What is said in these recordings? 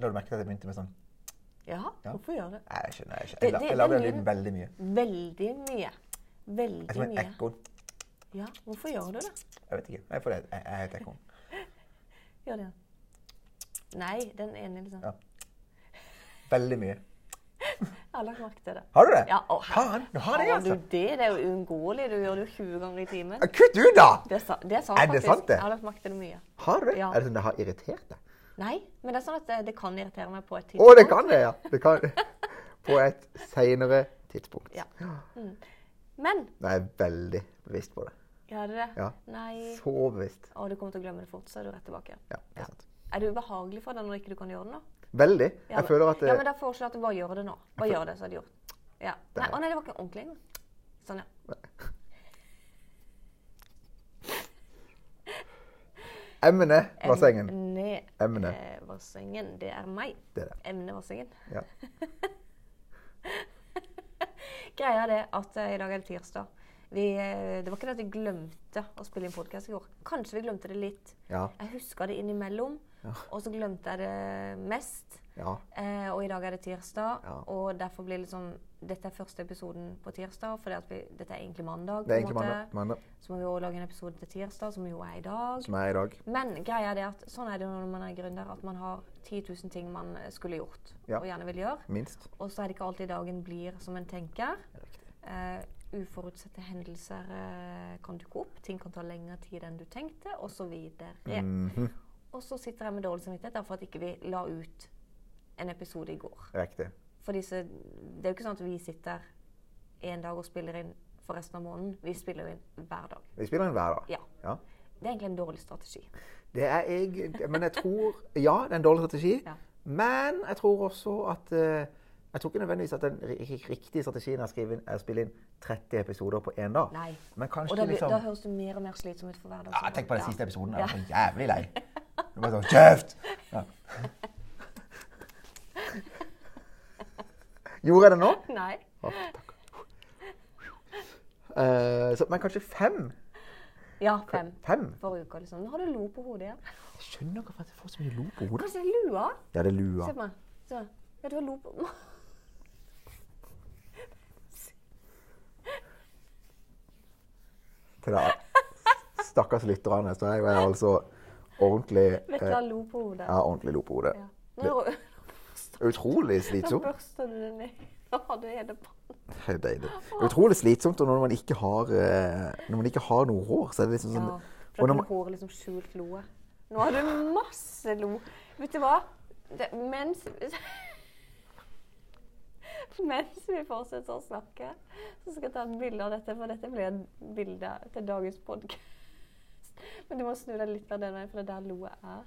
La du merke til at jeg begynte med sånn? Ja, Ja. hvorfor gjør det? Nei, jeg skjønner ikke. Det- Jeg, la, det- jeg lager den den lyden lyden- veldig mye. Veldig mye. Jeg Veldig tror det er mye. et ekko. Ja, hvorfor gjør du det? Jeg vet ikke. Nei, for det er- jeg jeg er et ekko. Gjør det. Nei, den ene liksom. Ja. Veldig mye. Jeg har lagt merke til det. Har du det? Ja, å, Faen, du har det, Har altså. du det? Det er jo uunngåelig. Du gjør det jo 20 ganger i timen. Ja, Kutt ut, da! Det er, sa det er sant, Er det faktisk. sant, det? Jeg har lagt merke til det mye. Har du det? Ja. Er det sånn det har irritert deg? Nei, men det er sånn at det, det kan irritere meg på et Å, tidspunkt. det kan det, ja. Det kan. På et seinere tidspunkt. Ja. Men Jeg er veldig bevisst på det. gjør det det? Ja. Nei. Så bevisst. Å, du kommer til å glemme det fort, så er du rett tilbake. Ja, det er sant. Er du ubehagelig for deg når ikke du kan gjøre det nå? Veldig. Ja, Jeg føler at Ja, men eh, da foreslår jeg at du bare gjør det nå. Bare gjør det, så er det gjort. Ja. Nei, Der. å nei, det var ikke ordentlig engang. Sånn, ja. Emne-bassengen. Emne- Emne. eh, Vassengen. Det er meg. Det er det. Emnevassengen. Ja. Greia er det at eh, i dag er det tirsdag. Vi, eh, det var ikke det at vi glemte å spille inn podkast i går. Kanskje vi glemte det litt. Ja. Jeg huska det innimellom, Ja. og så glemte jeg det mest. ja. Eh, og i dag er det tirsdag, Ja. og derfor blir liksom Dette er første episoden på tirsdag, for dette er egentlig mandag. Det er på en egentlig måte. mandag, mandag Så må vi også lage en episode til tirsdag, som jo er i dag. som er i dag. Men greia er det at sånn er det jo når man er gründer, at man har 10 000 ting man eh, skulle gjort, Ja. og gjerne vil gjøre. Minst. Og så er det ikke alltid dagen blir som en tenker. Riktig. Eh, uforutsette hendelser eh, kan dukke opp, ting kan ta lengre tid enn du tenkte, osv. Mhm. Og så sitter jeg med dårlig samvittighet da, for at ikke vi la ut en episode i går. Riktig. For disse, det er jo ikke sånn at vi sitter en dag og spiller inn for resten av måneden. Vi spiller jo inn hver dag. Vi spiller inn hver dag. Ja. Ja. Det er egentlig en dårlig strategi. Det er jeg, men jeg tror Ja, det er en dårlig strategi. Ja. Men jeg tror også at eh, Jeg tror ikke nødvendigvis at den ri- ri- riktige strategien er å skrive inn- er å spille inn 30 episoder på én dag. Nei. Men kanskje Og da, blir- liksom da høres det mer og mer slitsom ut for hver dag. ja, som Tenk på den går. siste episoden. Ja. Jeg var så jævlig lei. Du bare sånn Kjeft! Ja. Gjorde jeg det nå? Nei. Å, takk. Eh, så, men kanskje fem? Ja, fem. Fem? Forrige uke, liksom. Nå har du lo på hodet igjen. Jeg skjønner ikke hvorfor jeg får så mye lo på hodet. Kanskje det er lua? Ja, det er lua. Se på meg. Se på meg. Ja, du har lo på til det. Stakkars lytterne, så jeg var altså ordentlig Vet du, eh, jeg lo på hodet. ja, ordentlig lo på hodet. Ja. Nå, Utrolig nå slitsomt. børster du den i. Nå har du hele pannen. Det er Deilig. Utrolig slitsomt og når man ikke har, eh, når man ikke har noe hår. Så er det liksom sånn Ja, og for når at man, håret liksom skjult loet. Nå har du masse lo. Vet du hva? Det, mens Mens vi fortsetter å snakke, så skal jeg ta et bilde av dette, for dette blir et bilde til dagens podkast. Men du må snu deg litt av den veien, for det er der loet er.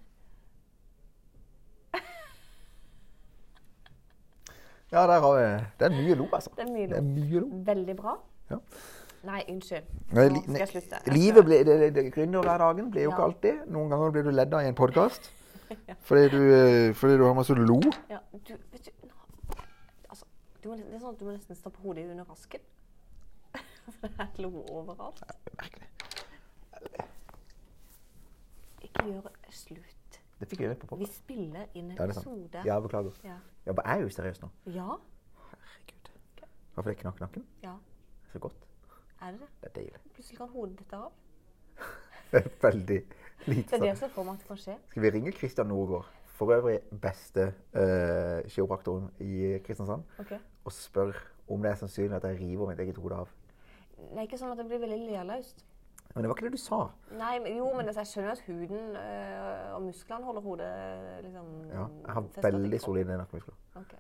Ja, der har vi Det er mye lo, altså. Det er mye Det er lo. mye lo. Veldig bra. Ja. Nei, unnskyld. Nei, Nå li- skal jeg slutte. Jeg Livet blir det, det, det, Gründerhverdagen blir jo Ja. ikke alltid. Noen ganger blir du ledd av i en podkast fordi, du, eh, fordi du har masse lo. Ja, du, vet du, nå, altså, du må, nesten- Det er sånn at du må nesten stappe hodet under vasken. For det er lo overalt. Merkelig. Ikke gjør slutt. Det fikk vi vekk på Vi podkast. spiller inn en Ja, det er sant. episode. Ja, beklager. Ja. Ja, men jeg er jo seriøs nå. Ja, Herregud. Hvorfor det knakk nakken? ja. Så godt. Er det det? Det er deilig. Plutselig kan hodet dette av. Det er veldig Det lite er det sånn. jeg ser for meg at det kan skje. Skal vi ringe Christian Norgård, for øvrig beste uh, kiropraktoren i Kristiansand, Ok. og spørre om det er sannsynlig at jeg river mitt eget hode av? Nei, ikke sånn at det blir veldig lelaust. Men det var ikke det du sa. Nei, men, jo, men altså, jeg skjønner jo at huden øh, og musklene holder hodet liksom Ja, jeg har festet til veldig kroppen. solide nakkemuskler. Ok.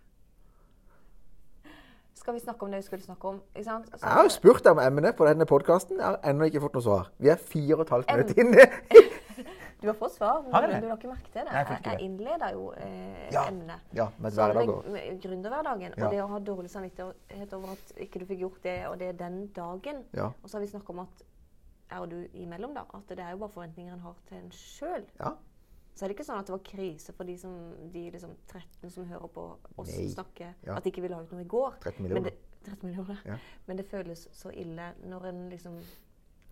Skal vi snakke om det vi skulle snakke om? Ikke sant? Så- Jeg har jo spurt deg om emnet på denne podkasten. Jeg har ennå ikke fått noe svar. Vi er fire og et halvt Em- minutt inne. Du har fått svar, men Har jeg du- det? du har ikke merket det. Nei, jeg får Jeg, ikke jeg det. innleder jo eh, Ja, emnet. ja, med et Så hverdag med- og- med Gründerhverdagen. Ja. Og det å ha dårlig samvittighet over at ikke du fikk gjort det, og det er den dagen. Ja. Og så har vi snakket om at er og du imellom da, at det er jo bare forventninger en har til en sjøl. Ja. Så er det ikke sånn at det var krise for de, som, de liksom 13 som hører på oss Nei. snakke, Ja. at de ikke ville ha ut noe i går. 13 Men millioner. det, 13 millioner. Ja. Men det føles så ille når en liksom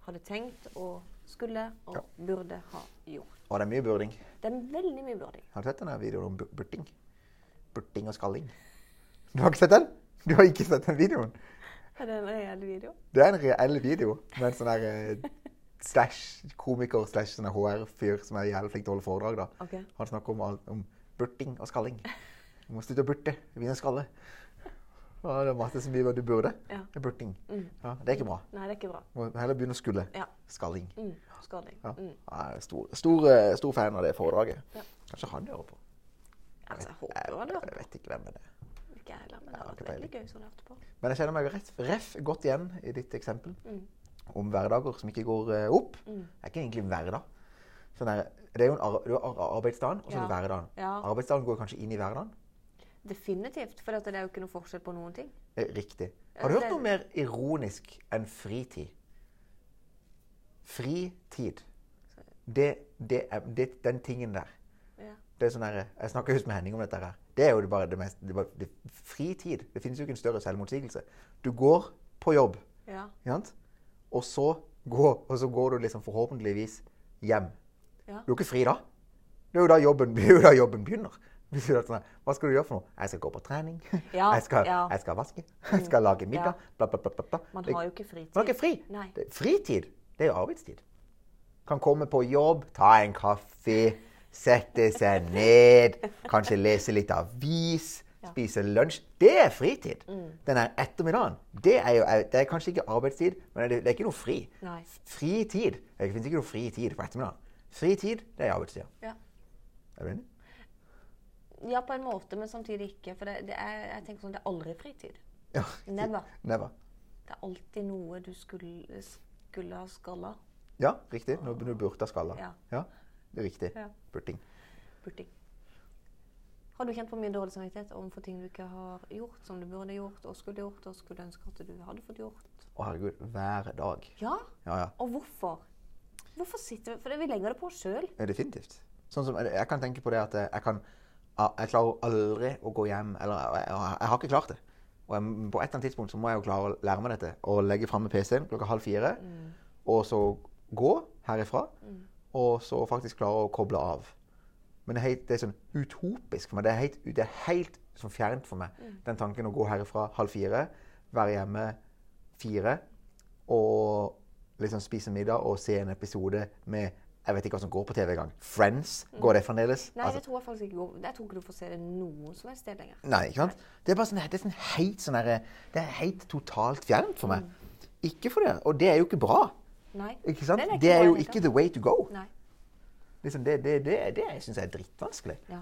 hadde tenkt og skulle og Ja. burde ha gjort. Og det er mye burding. Det er veldig mye burding. Har du sett denne videoen om bur- burting? Burting og skalling. Du har ikke sett den? Du har ikke sett den videoen? Er det en reell video? Det er en reell video med en sånn der eh, slash komiker slash sånn HR-fyr som er jævlig flink til å holde foredrag. da. Ok. Han snakker om, alt- om burting og skalling. Du må slutte å burte. Du begynner å skalle. Ja, det er masse som blir hva du burde. Ja. Det er burting. Mm. Ja, det er ikke bra. Nei, det er ikke bra. Du må heller begynne å skulle. Ja. Skalling. Mm. Skading. Ja. Mm. Jeg er stor, stor, eh, stor fan av det foredraget. Ja. Kanskje han hører på. Altså, jeg Jeg, håper han hadde jeg vet ikke hvem det er. Ikke jeg heller, men det Jeg har hadde vært ikke veldig gøy hvis han hørte på. Men jeg kjenner meg rett, ref godt igjen i ditt eksempel Mm. om hverdager som ikke går eh, opp. Mm. Det er ikke egentlig en hverdag. Sånn der, det er jo en ar du har ar- arbeidsdagen, og så er det Ja. hverdagen. Ja. Arbeidsdagen går kanskje inn i hverdagen. Definitivt, for det er jo ikke noe forskjell på noen ting. Eh, Riktig. Har du hørt Ja, det- noe mer ironisk enn fritid? Fritid. Det, det er det, den tingen der. Ja. Det er sånn der, jeg snakker just med Henning om dette her. Det er jo bare det mest det, er bare- det, Fritid. Det finnes jo ikke en større selvmotsigelse. Du går på jobb, Ja. ikke sant? Og så går, og så går du liksom forhåpentligvis hjem. Ja. Du er ikke fri da. Det er jo da jobben, det er jo da jobben begynner. Hvis du er sånn, her, hva skal du gjøre for noe? Jeg skal gå på trening. Ja, jeg, skal, ja. Mm. jeg skal vaske. Jeg skal lage middag. Ja. Bla, bla, bla, bla, bla. Man Det- har jo ikke fritid. Man har ikke fri. Nei. Det, fritid, det er jo arbeidstid. Kan komme på jobb, ta en kaffe, sette seg ned, kanskje lese litt avis, Ja. Mm. spise lunsj. Det er fritid. Den her ettermiddagen, det er jo det er kanskje ikke arbeidstid, men det, det er ikke noe fri. Nei. Fritid. Det finnes ikke noe fritid på ettermiddagen. Fritid, det er arbeidstida. Ja. Er du enig? ja, på en måte, men samtidig ikke. For det, det er, jeg tenker sånn, det er aldri fritid. Ja. Never. Never. Det er alltid noe du skulle, skulle ha skalla. Ja, riktig. Nå begynner du å burte av skalla. Ja. det er riktig. Ja. Burting. Burting. Har du kjent på mye dårlig samvittighet overfor ting du ikke har gjort, som du burde gjort, og skulle gjort, og skulle ønske at du hadde fått gjort? Å, herregud. Hver dag. Ja, Ja, ja. og hvorfor? Hvorfor sitter vi For det- vi legger det på oss sjøl. Ja, Definitivt. Sånn som, jeg kan tenke på det at jeg kan Jeg klarer aldri å gå hjem Eller jeg, jeg, jeg har ikke klart det. Og jeg, på et eller annet tidspunkt så må jeg jo klare å lære meg dette. Og legge framme PC-en klokka halv fire. Og så gå herifra. Og så faktisk klare å koble av. Men det er, helt, det er sånn utopisk for meg. Det er helt, det er helt sånn fjernt for meg. Mm. Den tanken å gå herifra halv fire, være hjemme fire og liksom spise middag og se en episode med Jeg vet ikke hva som går på TV engang. Friends? Går det fremdeles? Mm. Nei, Altså, det tror jeg faktisk ikke går. Jeg tror ikke du får se det noen som helst sted lenger. Nei, ikke sant? Det er bare sånn, det er sånn helt sånn derre Det er helt totalt fjernt for Mm. meg. Ikke for det. Og det er jo ikke bra. Nei. Ikke sant? Nei, Det er, bra i jo det ikke hele the way to go. tatt. Nei. Liksom det det, det, det syns jeg er drittvanskelig. Ja.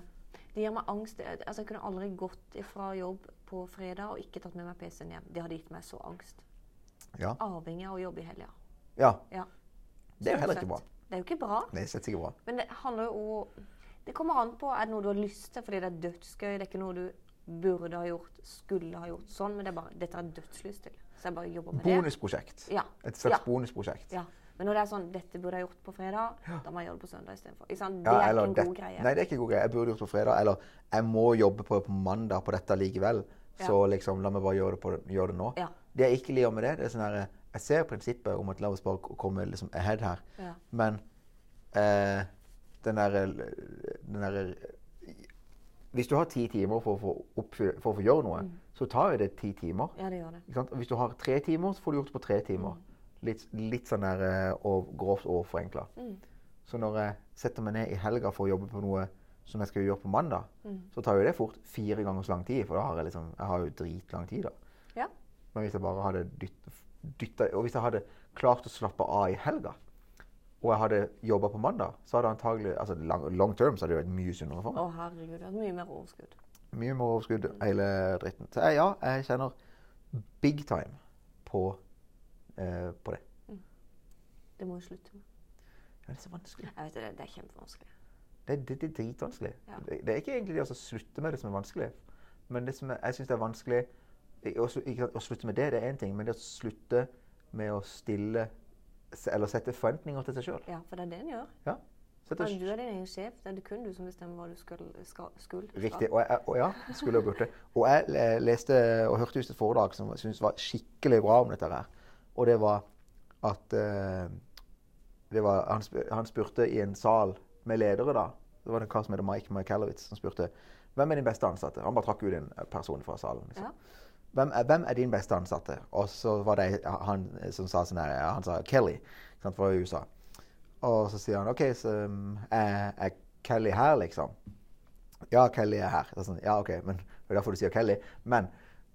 Det gir meg angst. Det- Altså, jeg kunne aldri gått fra jobb på fredag og ikke tatt med meg PC-en hjem. Det hadde gitt meg så angst. Ja. Avhengig av å jobbe i helga. ja. Ja. Det er jo heller Rett og ikke bra. slett. Det er jo ikke bra. Det er slett ikke bra. Men det handler jo om Det kommer an på er det noe du har lyst til fordi det er dødsgøy. Det er ikke noe du burde ha gjort, skulle ha gjort sånn, men det er bare, dette har jeg dødslyst til. Så jeg bare jobber med det. Bonusprosjekt. Ja. Et slags Ja. bonusprosjekt. Ja. Men når det er sånn 'Dette burde jeg gjort på fredag', da må jeg gjøre det på søndag istedenfor. Ikke sant? Det Ja, er eller ikke en god det- greie. Nei, det er ikke en god greie. Jeg burde gjort det på fredag. Eller jeg må jobbe på, på mandag på dette likevel. Så liksom, la meg bare gjøre det, på, gjøre det nå. Ja. Det jeg ikke liker med det, det er sånn her Jeg ser prinsippet om at la oss bare k- komme liksom ahead her, Ja. men eh, den derre den der, Hvis du har ti timer for å få, oppfylle, for å få gjøre noe, Mm. så tar jo det ti timer. Ja, det gjør det. Ikke sant? Og Hvis du har tre timer, så får du gjort det på tre timer. Litt, litt sånn der eh, og grovt overforenkla. Mm, Så når jeg setter meg ned i helga for å jobbe på noe som jeg skal gjøre på mandag, mm. så tar jo det fort fire ganger så lang tid, for da har jeg liksom Jeg har jo dritlang tid, da. Ja. Men hvis jeg bare hadde dytta Og hvis jeg hadde klart å slappe av i helga, og jeg hadde jobba på mandag, så hadde antagelig Altså long, long term så hadde det vært mye sunnere for meg Å herregud, det er mye mer overskudd. mye mer overskudd, hele dritten. Så jeg, ja, jeg kjenner big time på, eh, på det. Det må jo slutte med. Ja, det er så vanskelig. Jeg vet det, det er kjempevanskelig. Det, det, det er dritvanskelig. Ja. Det, det er ikke egentlig det å slutte med det som er vanskelig. Men det som er, jeg syns det er vanskelig i- å slu- ikke sant, Å slutte med det, det er én ting, men det å slutte med å stille se- Eller sette forventninger til seg sjøl. Ja, for det er det en gjør. Ja. Sette, Men du er din egen sjef. Det er det kun du som bestemmer hva du skal, skal, skulle. skal. Riktig. Og, jeg, og ja, skulle og burde. Og jeg le- leste og hørte just et foredrag som jeg syntes var skikkelig bra om dette her. Og det var at eh, det var, han, sp- han spurte i en sal med ledere, da, Det var det en kar som heter Mike Michaelowitz som spurte hvem er din beste ansatte. Han bare trakk ut en person fra salen. Liksom. Ja. Hvem, er, hvem er din beste ansatte? Og så var det han som sa sånn her Han sa Kelly ikke sant, fra USA. Og så sier han OK, så um, er, er Kelly her, liksom? Ja, Kelly er her. Det er sånn, ja, OK, men det er derfor du sier Kelly. Men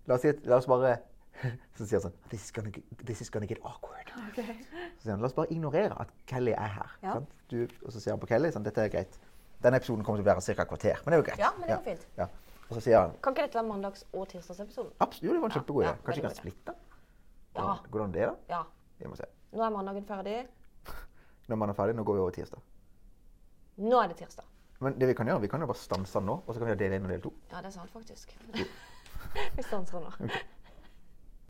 la oss, si, at- la oss bare Så sier han sånn This is gonna, get- this is gonna get awkward. Ok. Så sier han, la oss bare ignorere at Kelly er her. Ja. Sant? Du, og så sier han på Kelly, sånn, dette er greit. Denne episoden kommer til å være ca. et kvarter, men det er jo greit. Ja, men det går fint. Ja. Og så sier han, Kan ikke dette være mandags- og tirsdagsepisoden? abs- jo, det var en Ja, kjempegod idé. ja, Kanskje vi veldig kan splitte? Ja. Hvordan- Hvordan det er da? Ja. Vi må se. Nå er mandagen ferdig. Når man er ferdig, nå går vi over tirsdag. Nå er det tirsdag. Men det vi kan gjøre, vi kan jo bare stanse den nå, og så kan vi ha del 1 og del 2. Ja, det er sant, faktisk. Vi stanser nå.